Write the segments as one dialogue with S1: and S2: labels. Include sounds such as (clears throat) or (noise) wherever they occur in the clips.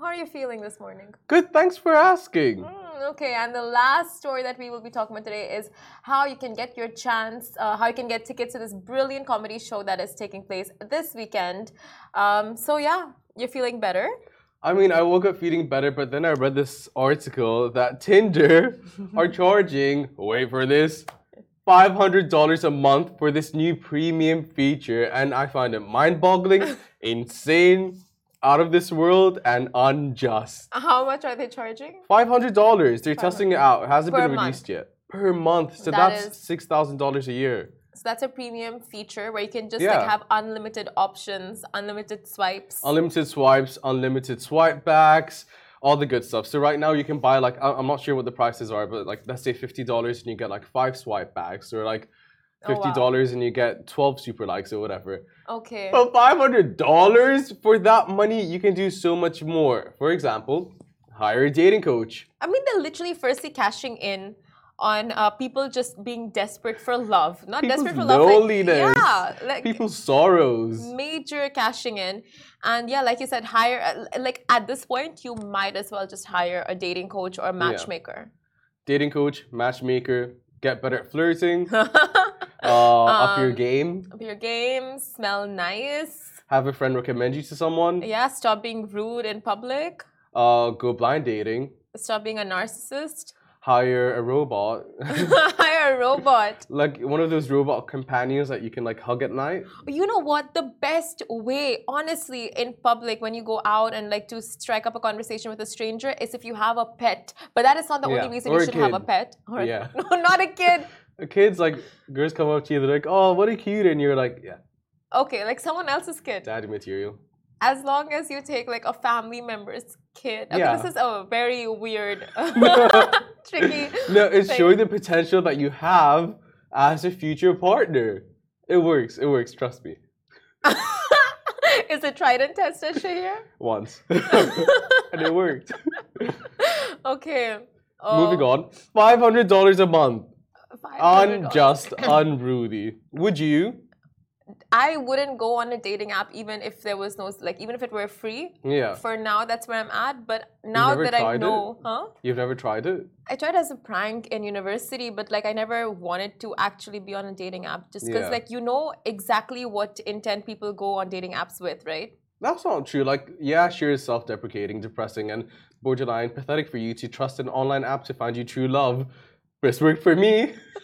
S1: are you feeling this morning?
S2: Good, thanks for asking.
S1: Mm, Okay, and the last story that we will be talking about today is how you can get your chance, uh, how you can get tickets to this brilliant comedy show that is taking place this weekend. Um, so, yeah, you're feeling better.
S2: I mean, I woke up feeling better, but then I read this article that Tinder
S1: (laughs)
S2: are charging, wait for this, $500 a month for this new premium feature, and I find it mind
S1: (laughs)
S2: boggling, insane, out of this world, and unjust.
S1: How much are they charging?
S2: $500, they're testing it out, it hasn't
S1: Per
S2: been
S1: month.
S2: released yet. Per month, so
S1: That
S2: that's $6,000 a year.
S1: So, that's a premium feature where you can just like
S2: Yeah.
S1: have unlimited options, unlimited swipes.
S2: unlimited swipes, unlimited swipe backs, all the good stuff. So right now you can buy like I- I'm not sure what the prices are, but like let's say fifty dollars and you get like five swipe backs, or like
S1: wow.
S2: fifty dollars and you get twelve super likes or whatever.
S1: okay.
S2: But five hundred dollars for that money, you can do so much more. For example, hire a dating coach.
S1: I mean, they're literally firstly cashing in on uh, people just being desperate for love, not
S2: People's
S1: desperate for
S2: loneliness,
S1: love. Like, yeah, like
S2: people's sorrows.
S1: major cashing in, and yeah, like you said, hire uh, like at this point you might as well just hire a dating coach or a matchmaker. (laughs)
S2: Dating coach, matchmaker, get better at
S1: (laughs)
S2: flirting. Uh, up your game.
S1: Up your game, smell nice.
S2: Have a friend recommend you to someone.
S1: Yeah, stop being rude in public.
S2: Uh, go blind dating.
S1: Stop being a narcissist. (laughs)
S2: hire a robot, (laughs)
S1: hire a robot.
S2: like one of those robot companions that you can like hug at night.
S1: you know what the best way honestly in public when you go out and like to strike up a conversation with a stranger is if you have a pet but that is not the
S2: Yeah,
S1: only reason
S2: or
S1: you
S2: a
S1: should have a
S2: kid.
S1: pet or
S2: Yeah.
S1: (laughs) no not a kid
S2: The kids like girls come up to you, they're like, "Oh, what a cute," and you're like, "Yeah,
S1: okay like someone else's kid
S2: daddy material."
S1: as long as you take like a family member's kid okay
S2: Yeah.
S1: this is a very
S2: (laughs)
S1: weird (laughs) tricky (laughs)
S2: No, it's
S1: Like-
S2: showing the potential that you have as a future partner. It works. It works. Trust me.
S1: is it tried and tested
S2: (laughs)
S1: here
S2: Once, and it worked.
S1: okay Oh.
S2: Moving on, five hundred dollars a month.
S1: $500.
S2: Unjust, unruly. Would you?
S1: I wouldn't go on a dating app even if there was no like even if it were free.
S2: Yeah.
S1: For now, that's where I'm at. But now
S2: never
S1: that I
S2: tried
S1: know, huh?
S2: You've never tried it?
S1: I tried as a prank in university, but like I never wanted to actually be on a dating app just because
S2: Yeah.
S1: like you know exactly what intent people go on dating apps with, right?
S2: That's not true. Like, yeah, sure, it's self deprecating, depressing, and borderline pathetic for you to trust an online app to find you true love. But it's worked for me. (laughs)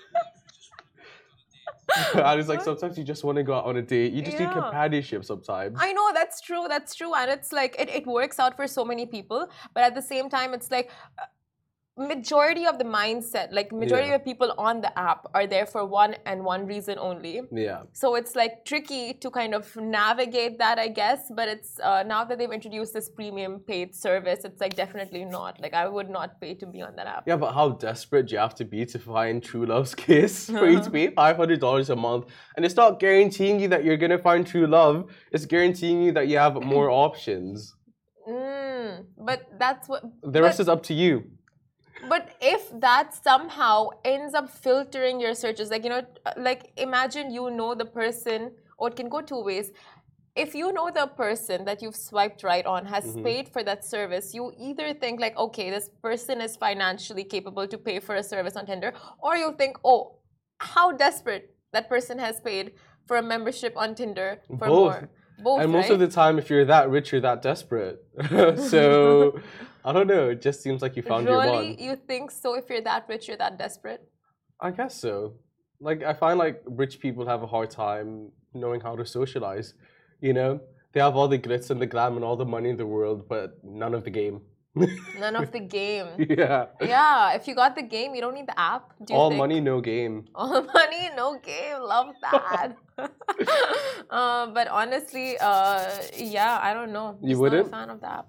S2: I was like, sometimes you just want to go out on a date. You just need
S1: Yeah.
S2: companionship sometimes.
S1: I know that's true, that's true, and it's like it, it works out for so many people, but at the same time, it's like uh, majority of the mindset, like majority
S2: Yeah.
S1: of people on the app are there for one and one reason only.
S2: yeah.
S1: So it's like tricky to kind of navigate that, I guess. But it's uh, now that they've introduced this premium paid service, it's like definitely not. Like I would not pay to be on that app.
S2: Yeah, but how desperate do you have to be to find true love's (laughs)
S1: (laughs)
S2: kiss for you to pay $500 a month? And it's not guaranteeing you that you're going to find true love, it's guaranteeing you that you have more options.
S1: Mm, but that's what.
S2: The rest is up to you.
S1: But if that somehow ends up filtering your searches, like you know, like imagine you know the person, or it can go two ways. If you know the person that you've swiped right on has
S2: Mm-hmm.
S1: paid for that service, you either think like, okay, this person is financially capable to pay for a service on Tinder, or you think, oh, how desperate that person has paid for a membership on Tinder for
S2: Both.
S1: more. Both,
S2: And most
S1: right?
S2: of the time, if you're that rich, you're that desperate. (laughs)
S1: (laughs)
S2: so I don't know. It just seems like you found your
S1: really,
S2: one.
S1: you think so? If you're that rich, you're that desperate.
S2: I guess so. Like I find like rich people have a hard time knowing how to socialize. You know, they have all the glitz and the glam and all the money in the world, but none of the game. (laughs)
S1: None of the game.
S2: yeah.
S1: Yeah, if you got the game, you don't need the app. Mm-hmm. Do you
S2: All
S1: think?
S2: money, no game.
S1: (laughs) all money, no game. Love that. (laughs) uh, but honestly, uh, yeah, I don't know.
S2: You
S1: Just Not
S2: wouldn't?
S1: a fan of the app.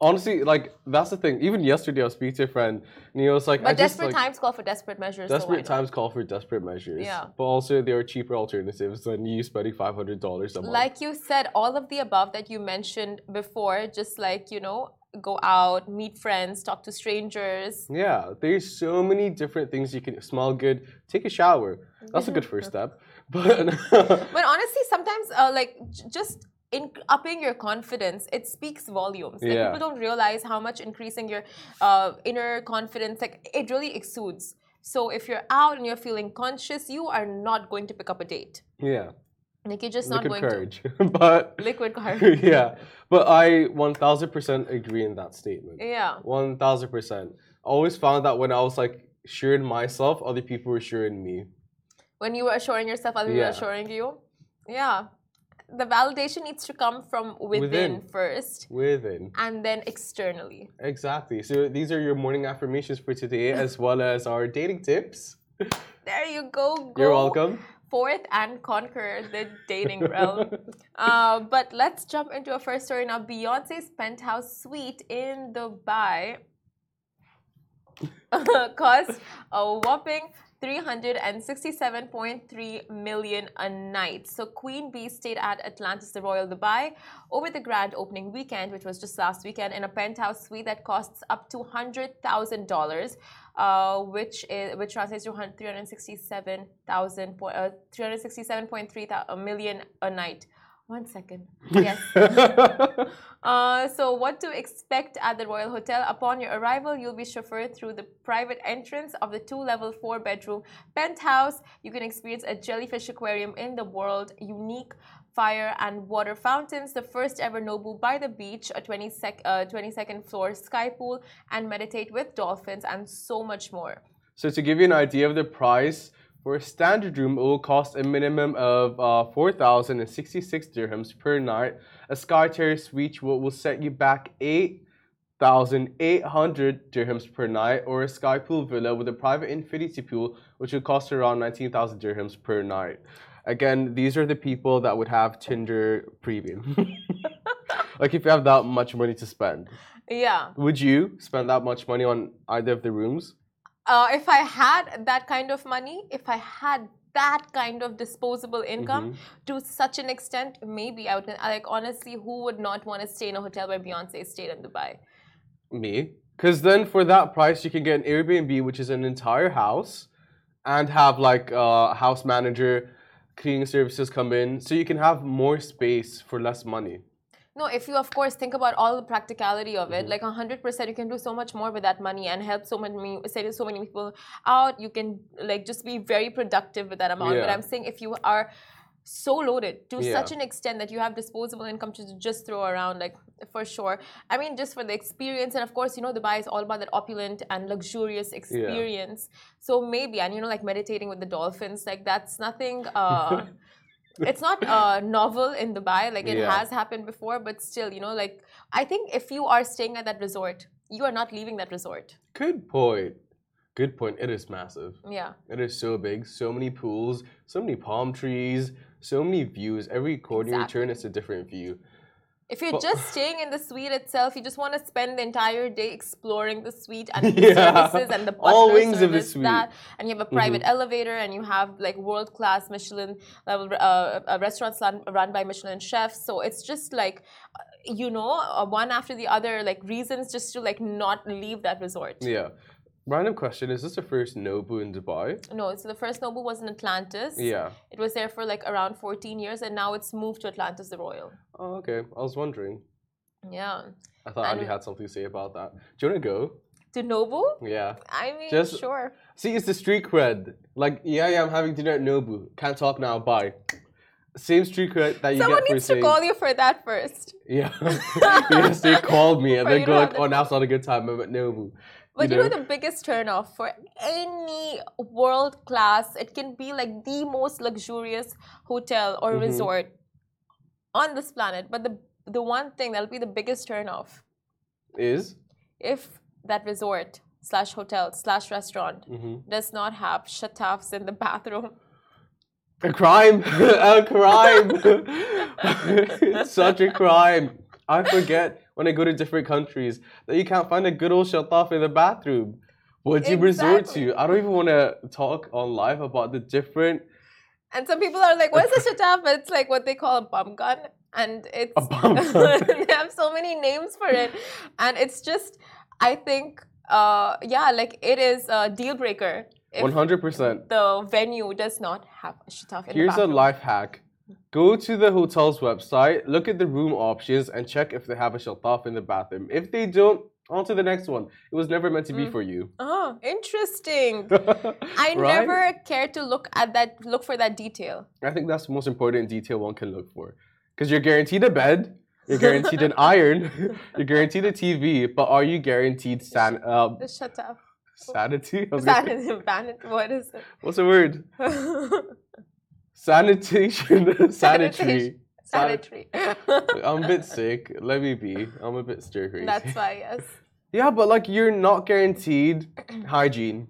S2: Honestly, like that's the thing. Even yesterday, I was speaking to a friend, and he was like,
S1: But
S2: "I just
S1: desperate
S2: like
S1: times call for desperate measures. so why
S2: desperate
S1: not?
S2: times call for desperate measures."
S1: Yeah.
S2: But also, there are cheaper alternatives than you spending five hundred dollars a month.
S1: Like you said, all of the above that you mentioned before, just like you know, go out, meet friends, talk to strangers.
S2: Yeah, there's so many different things you can smell good. Take a shower. That's a good first step. (laughs) But
S1: (laughs) But honestly, sometimes uh, like j- just in upping your confidence, it speaks volumes. Like
S2: Yeah.
S1: people don't realize how much increasing your uh, inner confidence, like it really exudes. So if you're out and you're feeling conscious, you are not going to pick up a date.
S2: Yeah.
S1: Like you're just not
S2: Liquid
S1: going
S2: courage. (laughs) but
S1: to. (laughs)
S2: (laughs)
S1: Liquid courage.
S2: yeah. But I 1000% agree in that statement.
S1: yeah.
S2: 1000%. I always found that when I was like sure in myself, other people were sure in me.
S1: When you were assuring yourself, other people were
S2: Yeah.
S1: assuring you. Yeah. The validation needs to come from within.
S2: Within.
S1: first
S2: Within.
S1: and then externally.
S2: Exactly. So these are your morning affirmations for today, as well as our dating tips.
S1: There you go. go
S2: You're welcome.
S1: Forth and conquer the dating realm. Uh, but let's jump into a first story now. Beyonce's penthouse suite in Dubai (laughs) cost a whopping 367.3 million a night. So Queen Bee stayed at Atlantis the Royal Dubai over the grand opening weekend, which was just last weekend, in a penthouse suite that costs up to hundred thousand dollars, uh, which is which translates to three hundred sixty-seven thousand point uh, three hundred sixty-seven point three million a night. One second. Yes. (laughs)
S2: (laughs)
S1: Uh, so, what to expect at the Royal Hotel? Upon your arrival, you'll be chauffeured through the private entrance of the two level four bedroom penthouse. You can experience a jellyfish aquarium in the world, unique fire and water fountains, the first ever Nobu by the beach, a 20 sec- uh, 22nd floor sky pool, and meditate with dolphins, and so much more.
S2: so to give you an idea of the price for a standard room, it will cost a minimum of uh, four thousand and sixty-six dirhams per night. A sky terrace suite will, will set you back eight thousand eight hundred dirhams per night, or a sky pool villa with a private infinity pool, which would cost around nineteen thousand dirhams per night. Again, these are the people that would have Tinder premium. (laughs) like if you have that much money to spend.
S1: Yeah.
S2: Would you spend that much money on either of the rooms?
S1: uh, if I had that kind of money, if I had that kind of disposable income to such an extent, maybe I would like honestly, who would not want to stay in a hotel where Beyonce stayed in Dubai?
S2: Me. Because then for that price, you can get an Airbnb, which is an entire house, and have like a house manager, cleaning services come in. So you can have more space for less money.
S1: No, if you of course think about all the practicality of
S2: Mm-hmm.
S1: it, like hundred percent, you can do so much more with that money and help so many, say so many people out. You can like just be very productive with that amount. But
S2: Yeah.
S1: I'm saying if you are so loaded to
S2: Yeah.
S1: such an extent that you have disposable income to just throw around, like for sure. I mean, just for the experience, and of course, you know, Dubai is all about that opulent and luxurious experience. So maybe, and you know, like meditating with the dolphins, like that's
S2: (laughs)
S1: nothing. Uh, it's not uh, novel in Dubai. Like it
S2: Yeah.
S1: has happened before, but still, you know, like I think if you are staying at that resort, you are not leaving that resort.
S2: Good point. Good point. It is massive.
S1: Yeah,
S2: It is so big. So many pools, so many palm trees, so many views. Every corner
S1: Exactly.
S2: you turn, it's a different view.
S1: if you're
S2: Well-
S1: just staying in the suite itself, you just want to spend the entire day exploring the suite and the
S2: (laughs) Yeah.
S1: services and the
S2: All
S1: butler
S2: wings of the Mm-hmm.
S1: service, That, and you have a private elevator and you have like world class Michelin level uh, uh, restaurants run, run by Michelin chefs. So it's just like. uh, You know, uh, one after the other, like reasons just to like not leave that resort.
S2: Yeah. Random question Is this the first Nobu in Dubai?
S1: No, so the first Nobu was in Atlantis.
S2: Yeah.
S1: It was there for like around 14 years and now it's moved to Atlantis the Royal.
S2: Oh, okay. I was wondering.
S1: Yeah.
S2: I thought
S1: I
S2: Andy
S1: don't-
S2: had something to say about that. Do you want to go?
S1: To Nobu?
S2: Yeah.
S1: I mean,
S2: Just-
S1: sure.
S2: See, it's the street cred. Like, yeah, yeah, I'm having dinner at Nobu. Can't talk now. Bye. Same street cred that you
S1: Someone
S2: get for
S1: needs to
S2: saying.
S1: call you for that first.
S2: (laughs) Yeah. yes, they called me and
S1: For
S2: they
S1: you
S2: go
S1: to
S2: like,
S1: have
S2: "Oh, now's not a good time. I'm at Nobu."
S1: But you know, the biggest turnoff for any world class, it can be like the most luxurious hotel or
S2: Mm-hmm.
S1: resort on this planet. But the the one thing that'll be the biggest turnoff
S2: is
S1: if that resort slash hotel slash restaurant does not have shatafs in the bathroom.
S2: a crime, (laughs) a crime, (laughs) such a crime. I forget when I go to different countries that you can't find a good old shataf in the bathroom. What do you resort
S1: Exactly.
S2: to? I don't even want to talk on live about the different
S1: And some people are like, "What's a shataf?" But it's like what they call a bum gun, and it's
S2: A
S1: (laughs)
S2: bum gun.
S1: they have so many names for it, and it's just, I think, uh, yeah, like it is a deal breaker if
S2: One hundred percent.
S1: the venue does not have a shataf in
S2: Here's
S1: the
S2: a
S1: bathroom.
S2: life hack: Go to the hotel's website, look at the room options, and check if they have a sheltaf in the bathroom. If they don't, on to the next one. It was never meant to be for you. (laughs)
S1: Oh, interesting. I
S2: I
S1: never cared to look at that, look for that detail.
S2: I think that's the most important detail one can look for. Because you're guaranteed a bed, you're guaranteed
S1: (laughs)
S2: an iron, (laughs) you're guaranteed a TV, but are you guaranteed san- uh,
S1: Just shut
S2: (laughs)
S1: up.
S2: sanity? I was gonna-
S1: Sanity, ban- what is it? (laughs)
S2: What's the word? Sanitation. (laughs) Sanitary.
S1: Sanitation. Sanitary. (laughs)
S2: I'm a bit sick. Let me be. I'm a bit stir crazy.
S1: That's why, yes.
S2: Yeah, but like you're not
S1: (clears throat)
S2: guaranteed hygiene,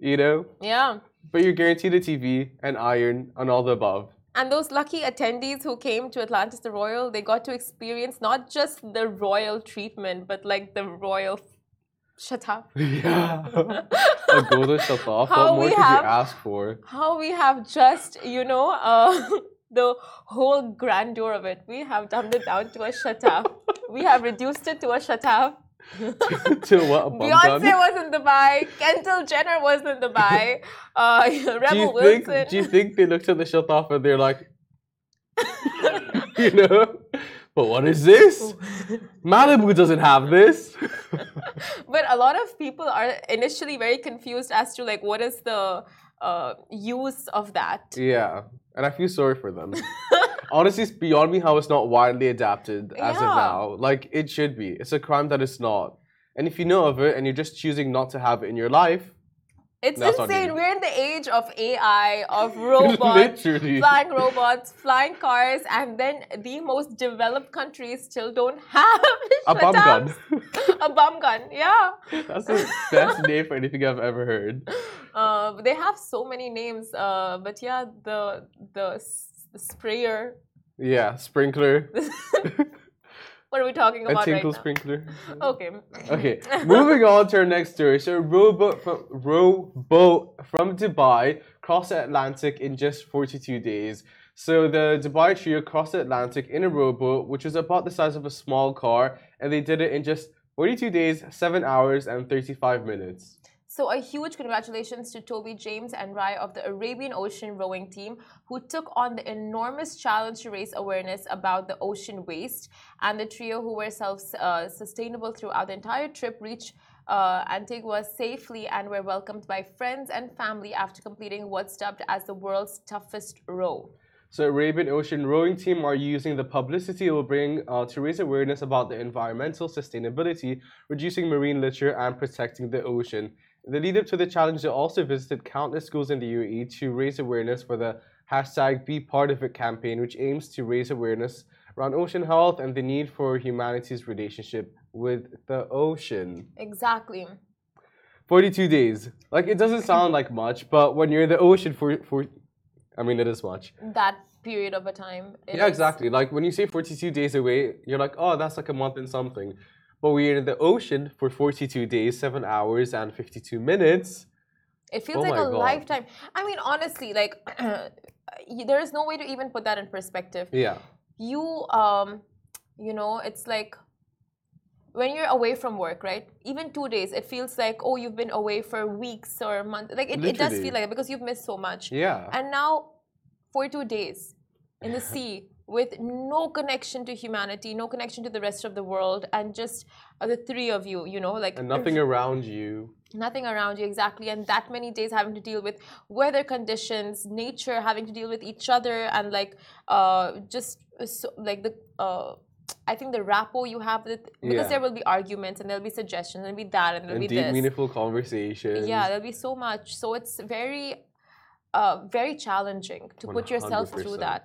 S2: you know?
S1: Yeah.
S2: But you're guaranteed a TV, an iron, and all the above. (laughs)
S1: And those lucky attendees who came to Atlantis the Royal, they got to experience not just the royal treatment, but like the royal. Shut up.
S2: Yeah. a golden shut off.
S1: How
S2: What more
S1: we
S2: could
S1: have-
S2: you ask for? (laughs)
S1: How we have just, you know, uh, (laughs) the whole grandeur of it. We have dumbed it down to a shut up. we have reduced it to a shut up.
S2: to what? A bum gun?
S1: Beyonce was in Dubai. Kendall Jenner was in Dubai. Uh, (laughs)
S2: do
S1: Rebel
S2: you
S1: Wilson.
S2: think do you think they looked at the shut off and they're like (laughs) you know? But what is
S1: (laughs)
S2: this? Malibu doesn't have this. (laughs)
S1: but a lot of people are initially very confused as to like what is the uh, use of that.
S2: (laughs) Yeah, and I feel sorry for them. Honestly, it's beyond me how it's not widely adapted as of
S1: Yeah.
S2: now. Like it should be. It's a crime that it's not. And if you know of it and you're just choosing not to have it in your life, (laughs)
S1: It's
S2: That's on
S1: insane.
S2: you.
S1: We're in the age of AI, of
S2: (laughs)
S1: robots,
S2: literally,
S1: flying robots, flying cars, and then the most developed countries still don't have (laughs)
S2: a bum gun.
S1: shutters. a bum gun. Yeah,
S2: (laughs) That's the best name for anything I've ever heard.
S1: uh, they have so many names. Uh, but yeah, the the, s- the sprayer.
S2: Yeah, sprinkler,
S1: What are we talking
S2: a
S1: about right
S2: tinkle
S1: now? Oh,
S2: sprinkler.
S1: Okay.
S2: Okay,
S1: (laughs)
S2: moving on to our next story. So, rowboat from rowboat from Dubai crossed the Atlantic in just 42 days. So, the Dubai trio crossed the Atlantic in a rowboat, which was about the size of a small car, and they did it in just 42 days, 7 hours, and 35 minutes.
S1: So, a huge congratulations to Toby James and Rai of the Arabian Ocean rowing team, who took on the enormous challenge to raise awareness about the ocean waste. And the trio, who were self uh, sustainable throughout the entire trip, reached uh, Antigua safely and were welcomed by friends and family after completing what's dubbed as the world's toughest row.
S2: So, Arabian Ocean Rowing Team are using the publicity it will bring uh, to raise awareness about the environmental sustainability, reducing marine litter, and protecting the ocean. In the lead up to the challenge, they also visited countless schools in the UAE to raise awareness for the hashtag Be Part of It campaign, which aims to raise awareness around ocean health and the need for humanity's relationship with the ocean.
S1: Exactly.
S2: 42 days. Like, it doesn't sound like much, but when you're in the ocean for, for I mean, it is much.
S1: That period of a time. it
S2: Yeah,
S1: is-
S2: exactly. Like when you say 42 days away, you're like, oh, that's like a month and something. But we're in the ocean for 42 days, 7 hours, and 52 minutes.
S1: It feels
S2: Oh
S1: like
S2: my
S1: a
S2: God.
S1: lifetime. I mean, honestly, like (clears throat) y- there is no way to even put that in perspective.
S2: Yeah.
S1: You, um, you know, it's like when you're away from work, right? Even two days, it feels like oh, you've been away for weeks or months. Like it, it does
S2: Literally.
S1: feel like that because you've missed so much.
S2: Yeah.
S1: And now, 42 days in
S2: (laughs)
S1: the sea with no connection to humanity, no connection to the rest of the world, and just uh, the three of you, you know, like
S2: And nothing around you.
S1: nothing around you exactly and that many days having to deal with weather conditions nature having to deal with each other and like uh just so, like the uh I think the rapport you have with because
S2: Yeah.
S1: there will be arguments and there'll be suggestions and there'll be that and there'll
S2: And
S1: be
S2: deep,
S1: this.
S2: meaningful conversations.
S1: yeah, there'll be so much. So it's very uh very challenging to put yourself through
S2: 100%.
S1: that.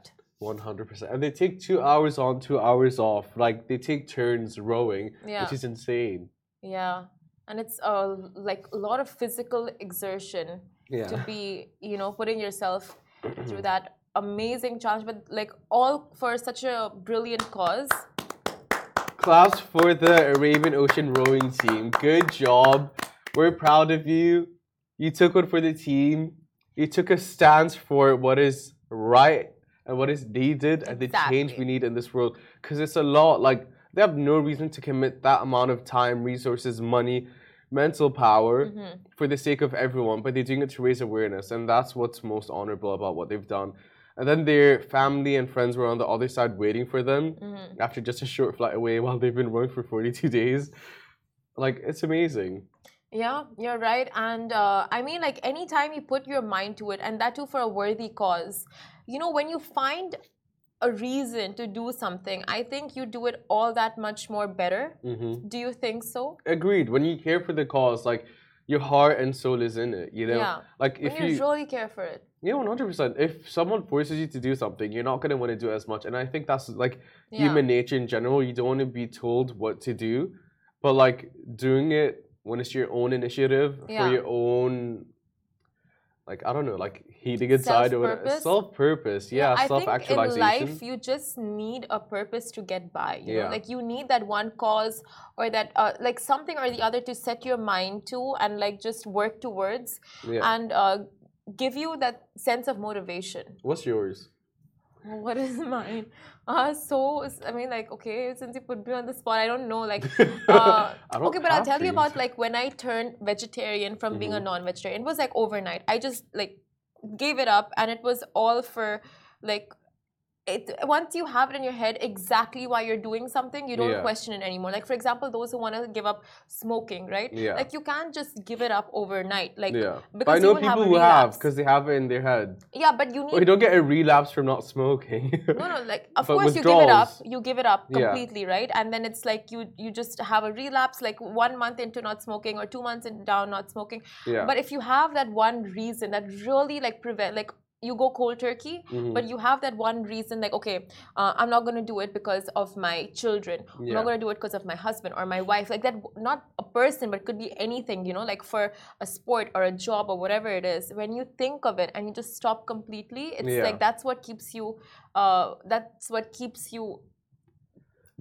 S2: 100%. And they take two hours on, two hours off. Like they take turns rowing,
S1: Yeah.
S2: which is insane.
S1: Yeah. And it's uh like a lot of physical exertion. to
S2: Yeah. Mm-hmm.
S1: be you know putting yourself through that amazing challenge but like all for such a brilliant cause
S2: Claps for the Arabian Ocean rowing team. Good job. We're proud of you. You took one for the team. You took a stance for what is right and what is needed and the change we
S1: Exactly.
S2: need in this world. Because it's a lot. Like, they have no reason to commit that amount of time, resources, money, mental power for the sake of everyone, but they're doing it to raise awareness. And that's what's most honorable about what they've done. And then their family and friends were on the other side waiting for them after just a short flight away while they've been roaming for 42 days. Like, it's amazing.
S1: Yeah, you're right. And uh, I mean, like, anytime you put your mind to it, and that too for a worthy cause, you know, when you find a reason to do something, I think you do it all that much more better. Do you think so?
S2: Agreed. When you care for the cause, like, your heart and soul is in it, you know?
S1: Yeah.
S2: Like, if
S1: When you,
S2: you.
S1: really care for it.
S2: Yeah, one hundred percent. If someone forces you to do something, you're not gonna want to do it as much. And I think that's like
S1: Yeah.
S2: human nature in general. You don't want to be told what to do, but like doing it when it's your own initiative
S1: Yeah.
S2: for your own, like I don't know, like heating inside or whatever.
S1: Self-purpose?
S2: Self purpose, yeah,
S1: I
S2: self
S1: think in
S2: actualization.
S1: life you just need a purpose to get by. You know?
S2: Yeah.
S1: Like you need that one cause or that uh, like something or the other to set your mind to and like just work towards
S2: Yeah.
S1: and uh, give you that sense of motivation.
S2: What's yours?
S1: What is (laughs) mine? Uh, so it's- I mean, like, okay, since you put me on the spot, I don't know. Like, (laughs) uh,
S2: (laughs) I don't
S1: okay, but I'll
S2: have Mm-hmm.
S1: tell you
S2: to.
S1: about like when I turned vegetarian from being a non-vegetarian. It was like overnight. I just like gave it up, and it was all for like. It, once you have it in your head exactly why you're doing something, you don't
S2: Yeah.
S1: question it anymore. Like for example, those who want to give up smoking, right?
S2: Yeah.
S1: Like you can't just give it up overnight. Like
S2: Yeah, but
S1: because
S2: I
S1: you
S2: know
S1: will have
S2: people
S1: a
S2: who have
S1: relapse.
S2: because they have it in their head.
S1: yeah, but you need
S2: Well, you don't get a relapse from not smoking. (laughs)
S1: no no like of
S2: But
S1: course you give it up
S2: withdrawals-
S1: you give it up
S2: Yeah.
S1: completely right and then it's like you you just have a relapse like one month into not smoking or two months in down not smoking
S2: Yeah.
S1: but if you have that one reason that really like prevent like you go cold turkey
S2: Hmm. Mm-hmm.
S1: but you have that one reason like okay uh, i'm not going to do it because of my children i'm not
S2: Yeah.
S1: going to do it because of my husband or my wife like that not a person but could be anything you know like for a sport or a job or whatever it is when you think of it and you just stop completely it's
S2: Yeah.
S1: like that's what keeps you uh, that's what keeps you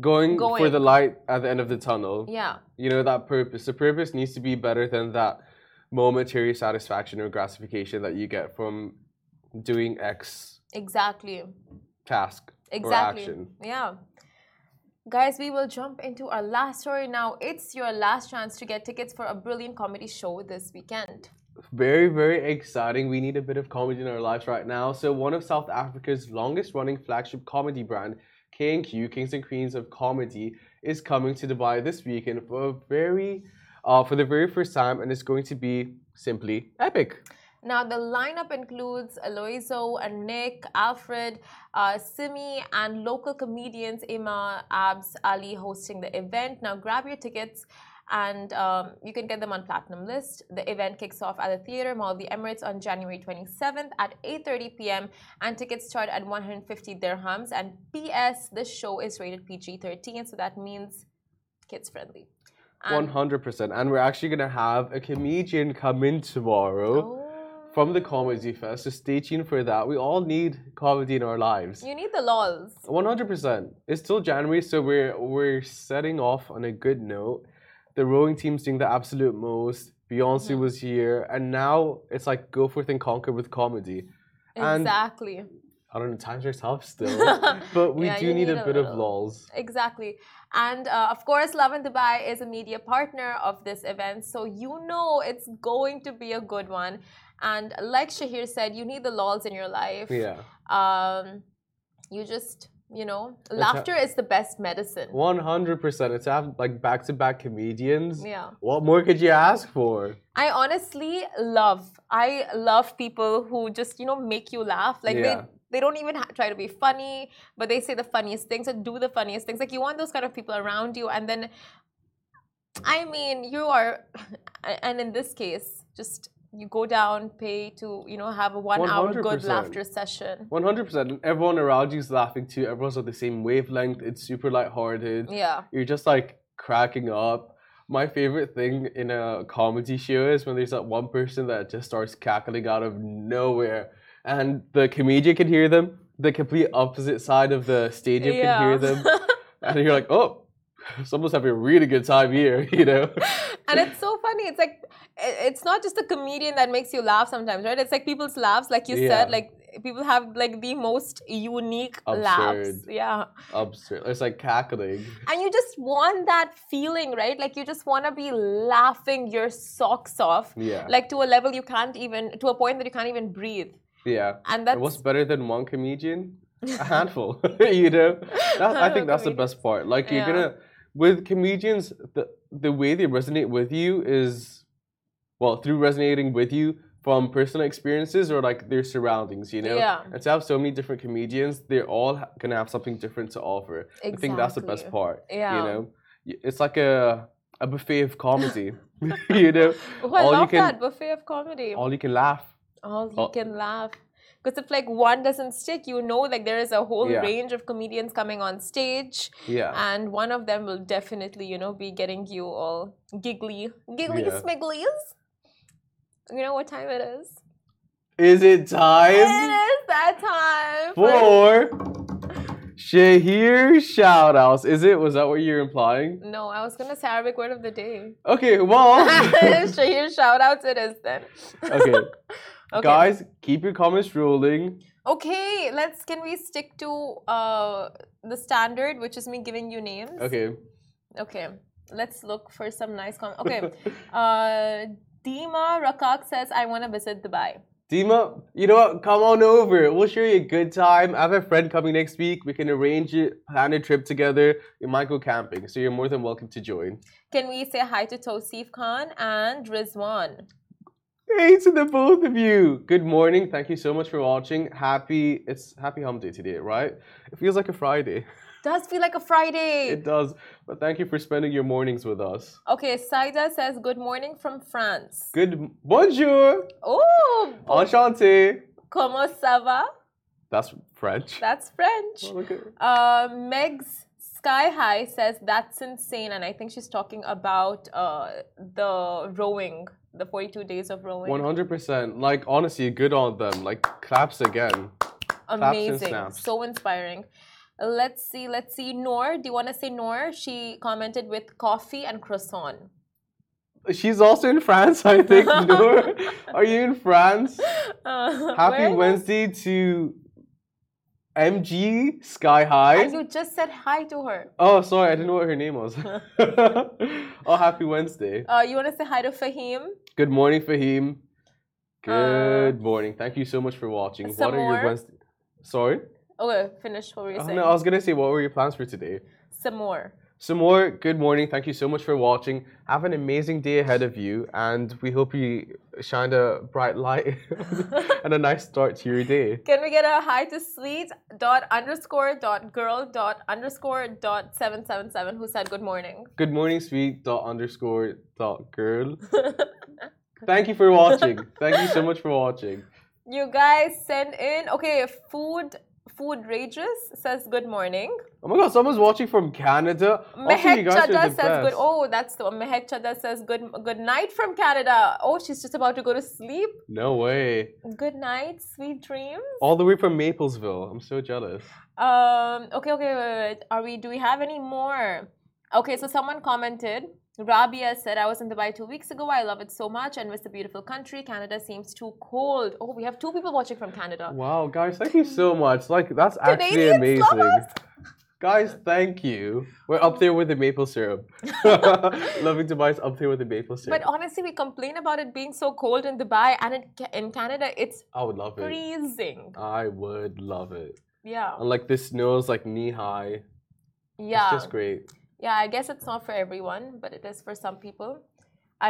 S2: going, for
S1: Going.
S2: the light at the end of the tunnel.
S1: yeah
S2: you know that purpose the purpose needs to be better than that momentary satisfaction or gratification that you get from doing x
S1: exactly
S2: task or
S1: exactly
S2: action
S1: yeah guys we will jump into our last story now it's your last chance to get tickets for a brilliant comedy show this weekend
S2: very very exciting we need a bit of comedy in our lives right now so one of south africa's longest running flagship comedy brand k&q kings and queens of comedy is coming to dubai this weekend for a very uh, for the very first time and it's going to be simply epic
S1: now the lineup includes Aloiso and Nick, Alfred, uh, Simi, and local comedians Ima, Abs, Ali hosting the event. Now grab your tickets, and um, you can get them on Platinum List. The event kicks off at the Theatre Mall of the Emirates on January 27th at 8:30 p.m. and tickets start at 150 dirhams. And P.S. This show is rated PG-13, so that means kids friendly.
S2: One
S1: And-
S2: hundred percent, and we're actually gonna have a comedian come in
S1: Oh.
S2: tomorrow from the Comedy Fest. So stay tuned for that. We all need comedy in our lives.
S1: You need the lols.
S2: One hundred percent. It's still January, so we're we're setting off on a good note. The rowing team's doing the absolute most. Beyonce
S1: Mm-hmm.
S2: was here, and now it's like go forth and conquer with comedy. And-
S1: Exactly.
S2: I don't know, times are tough still,
S1: (laughs)
S2: but we
S1: Yeah,
S2: do
S1: you
S2: need,
S1: need
S2: a
S1: a
S2: bit of
S1: little.
S2: lols.
S1: Exactly. And uh, of course, Love in Dubai is a media partner of this event, so you know it's going to be a good one. And like Shahir said, you need the lols in your life.
S2: Yeah,
S1: Um, you just, you know, laughter is the best medicine.
S2: one hundred percent. It's have like back to back comedians.
S1: Yeah.
S2: What more could you ask for?
S1: I honestly love, I love people who just, you know, make you laugh. Like they,
S2: Yeah.
S1: they don't even ha- try to be funny, but they say the funniest things or do the funniest things. Like you want those kind of people around you. And then, I mean, you are, (laughs) and in this case, just you go down, pay to, you know, have a one hour good
S2: 100%.
S1: laughter session.
S2: One hundred percent. And everyone around you is laughing too. Everyone's on the same wavelength. It's super lighthearted.
S1: Yeah.
S2: You're just like cracking up. My favorite thing in a comedy show is when there's that one person that just starts cackling out of nowhere, and the comedian can hear them. The complete opposite side of the stadium can hear
S1: (laughs)
S2: them, and you're like, "Oh, someone's having a really good time here," (laughs) you know?
S1: and it's so funny. It's like i- it's not just the comedian that makes you laugh sometimes, right? It's like people's laughs, like you said,
S2: Yeah.
S1: like people have like the most unique laughs.
S2: Absurd.
S1: Yeah.
S2: Absurd. It's like cackling.
S1: And you just want that feeling, right? Like you just want to be laughing your socks off.
S2: Yeah.
S1: Like to a level you can't even to a point that you can't even breathe.
S2: Yeah.
S1: And that's
S2: What's better than one comedian?
S1: (laughs)
S2: A handful, (laughs) you know. That, I think that's the best part. Like you're
S1: Yeah.
S2: gonna with comedians, the the way they resonate with you is, well, through resonating with you from personal experiences or like their surroundings, you know.
S1: Yeah.
S2: And to have so many different comedians, they're all ha- gonna have something different to offer. I think that's the best
S1: Exactly.
S2: part.
S1: Yeah.
S2: You know, Y- it's like a a buffet
S1: (laughs)
S2: of comedy. (laughs) you know,
S1: Oh, I
S2: all you
S1: love
S2: can
S1: that buffet of comedy. All,
S2: all you can laugh.
S1: you
S2: all-
S1: can laugh. Because if like one doesn't stick, you know, like there is a whole
S2: Yeah.
S1: range of comedians coming on stage,
S2: Yeah.
S1: and one of them will definitely, you know, be getting you all giggly, giggly
S2: Yeah.
S1: smigglies. You know what time it is?
S2: Is it
S1: It
S2: time?
S1: is that time. for-
S2: for Shahir shout outs. Is it? Was that what you're implying?
S1: No, I was gonna say Arabic word of the day.
S2: Okay,
S1: (laughs)
S2: well.
S1: Shahir, shout outs it is then.
S2: okay. Guys, keep your comments rolling.
S1: Okay, let's can we stick to uh the standard, which is me giving you names.
S2: Okay.
S1: Okay. Let's look for some nice comments. Okay. (laughs) uh Dima Rakak says, I wanna visit Dubai.
S2: Dima, you know what? Come on over. We'll share you a good time. I have a friend coming next week. We can arrange it, plan a trip together. We might go camping, so you're more than welcome to join.
S1: Can we say hi to Tosif Khan and Rizwan?
S2: Hey to the both of you. Good morning. Thank you so much for watching. Happy it's happy hump day today, right? It feels like a Friday.
S1: Does feel like a Friday.
S2: It does. But thank you for spending your mornings with us.
S1: okay, Saida says, Good morning from France.
S2: Good m- bonjour,
S1: Oh,
S2: enchanté.
S1: comment ça va?
S2: That's French.
S1: That's French.
S2: Oh, okay.
S1: Uh, Meg's Sky High says that's insane, and I think she's talking about uh, the rowing, the 42 days of rowing.
S2: 100%. Like, honestly, good on them. Like, claps again. and
S1: Amazing,
S2: snaps.
S1: so inspiring. Let's see, let's see. Noor, do you want to say Noor? She commented with coffee and croissant.
S2: She's also in France, I
S1: (laughs)
S2: think. Noor, are you in France?
S1: Uh, (laughs)
S2: Happy
S1: where-
S2: Wednesday to MG Sky High.
S1: And you just said hi to her.
S2: Oh, sorry, I didn't know what her name
S1: (laughs)
S2: was. (laughs) oh, happy Wednesday.
S1: Uh, you want to say hi to Fahim?
S2: Good morning, Fahim. Good morning. Thank you so much for watching. What
S1: Uh, some
S2: are your
S1: more?
S2: Wednesday? Sorry?
S1: Okay, finish what we were
S2: Oh,
S1: saying.
S2: no, I was going to say, what were your plans for today?
S1: Some more.
S2: Some more. Good morning. Thank you so much for watching. Have an amazing day ahead of you, and we hope you shined a bright light (laughs) and a nice start to your day.
S1: Can we get a hi to sweet dot underscore dot girl dot underscore dot seven seven seven who said good morning?
S2: Good morning, sweet dot underscore dot
S1: (laughs)
S2: girl. Thank you for watching. Thank you so much for watching.
S1: You guys send in okay. Food food rages says good morning.
S2: Oh my god, someone's watching from Canada. Also, you
S1: Mehek
S2: guys
S1: Chadda
S2: are the
S1: says good.
S2: best.
S1: Oh, that's the one. Mehek Chadda says good good night from Canada. Oh, she's just about to go to sleep.
S2: No way.
S1: Good night, sweet dreams.
S2: All the way from Maplesville. I'm so jealous.
S1: Um. Okay. Okay. Wait, wait, wait. Are we? Do we have any more? Okay. So someone commented. Rabia said, "I was in Dubai two weeks ago. I love it so much and miss the beautiful country. Canada seems too cold." Oh, we have two people watching from Canada.
S2: Wow, guys, thank you so much. Like, that's actually
S1: Canadian
S2: amazing.
S1: (laughs) Slovaks.
S2: Guys, thank you. We're up there with the maple
S1: (laughs)
S2: syrup. (laughs) Loving Dubai's up there with the maple syrup.
S1: But honestly, we complain about it being so cold in Dubai, and it, ca- in Canada, it's
S2: I would love it.
S1: freezing.
S2: I would love it.
S1: Yeah.
S2: And like, this snow is like knee high.
S1: Yeah.
S2: uh, It's just great.
S1: Yeah, I guess it's not for everyone, but it is for some people.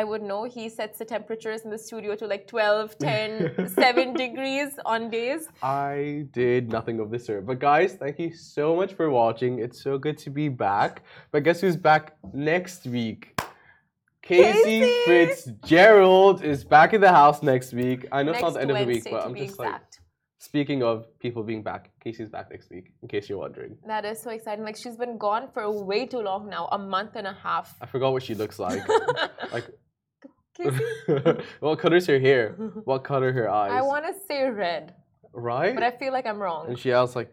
S1: I would know he sets the temperatures in the studio to like 12,
S2: (laughs)
S1: 10, 7 degrees on days.
S2: I did nothing of this syrup. But guys, thank you so much for watching. It's so good to be back. But guess who's back next week? Casey,
S1: Casey!
S2: Fitzgerald is back in the house next week. I know
S1: Next
S2: it's not the end
S1: Wednesday,
S2: of the week, but
S1: to
S2: I'm
S1: be
S2: just like
S1: exact.
S2: speaking of people being back, Casey's back next week, in case you're wondering.
S1: That is so exciting. Like she's been gone for way too long now, a month and a half.
S2: I forgot what she looks
S1: (laughs)
S2: like. (laughs) like (laughs)
S1: Casey,
S2: what color's her hair? What color her eyes?
S1: I want to say red,
S2: right?
S1: but I feel like I'm
S2: and
S1: wrong.
S2: she has like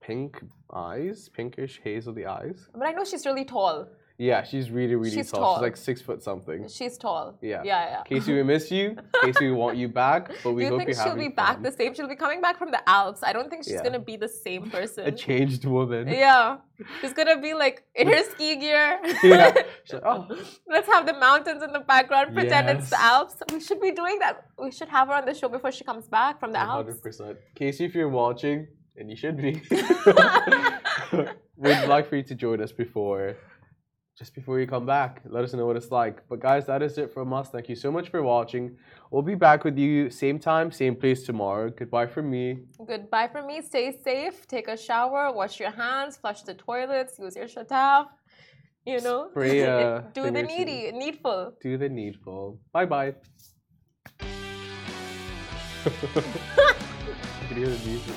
S2: pink eyes, pinkish haze of the eyes.
S1: But I know she's really tall.
S2: Yeah, she's really, really
S1: She's
S2: tall.
S1: tall.
S2: She's like six foot something.
S1: She's tall.
S2: Yeah.
S1: Yeah, yeah.
S2: Casey, we miss you. Casey, we want you back. But we
S1: Do you
S2: hope
S1: think
S2: you're
S1: she'll
S2: having
S1: be back
S2: fun.
S1: the same? She'll be coming back from the Alps. I don't think she's
S2: Yeah.
S1: gonna be the
S2: (laughs)
S1: same
S2: a
S1: person.
S2: changed woman.
S1: (laughs) Yeah, she's gonna be like in her ski gear.
S2: (laughs)
S1: (laughs)
S2: Yeah. She's like, oh,
S1: Let's have the mountains in the background, pretend it's the
S2: Yes.
S1: Alps. We should be doing that. We should have her on the show before she comes back from the Alps.
S2: 100%. Casey, if you're watching, and you should be, (laughs) we'd like for you to join us before, just before you come back. Let us know what it's like. But guys, that is it from us. Thank you so much for watching. We'll be back with you same time, same place tomorrow. Goodbye from me.
S1: Goodbye from me. Stay safe. Take a shower. Wash your hands. Flush the toilets. Use your shataf. You know,
S2: Spray, uh,
S1: (laughs) do the
S2: fingers in.
S1: needy, needful.
S2: Do the needful. Bye bye. (laughs) you can hear the music.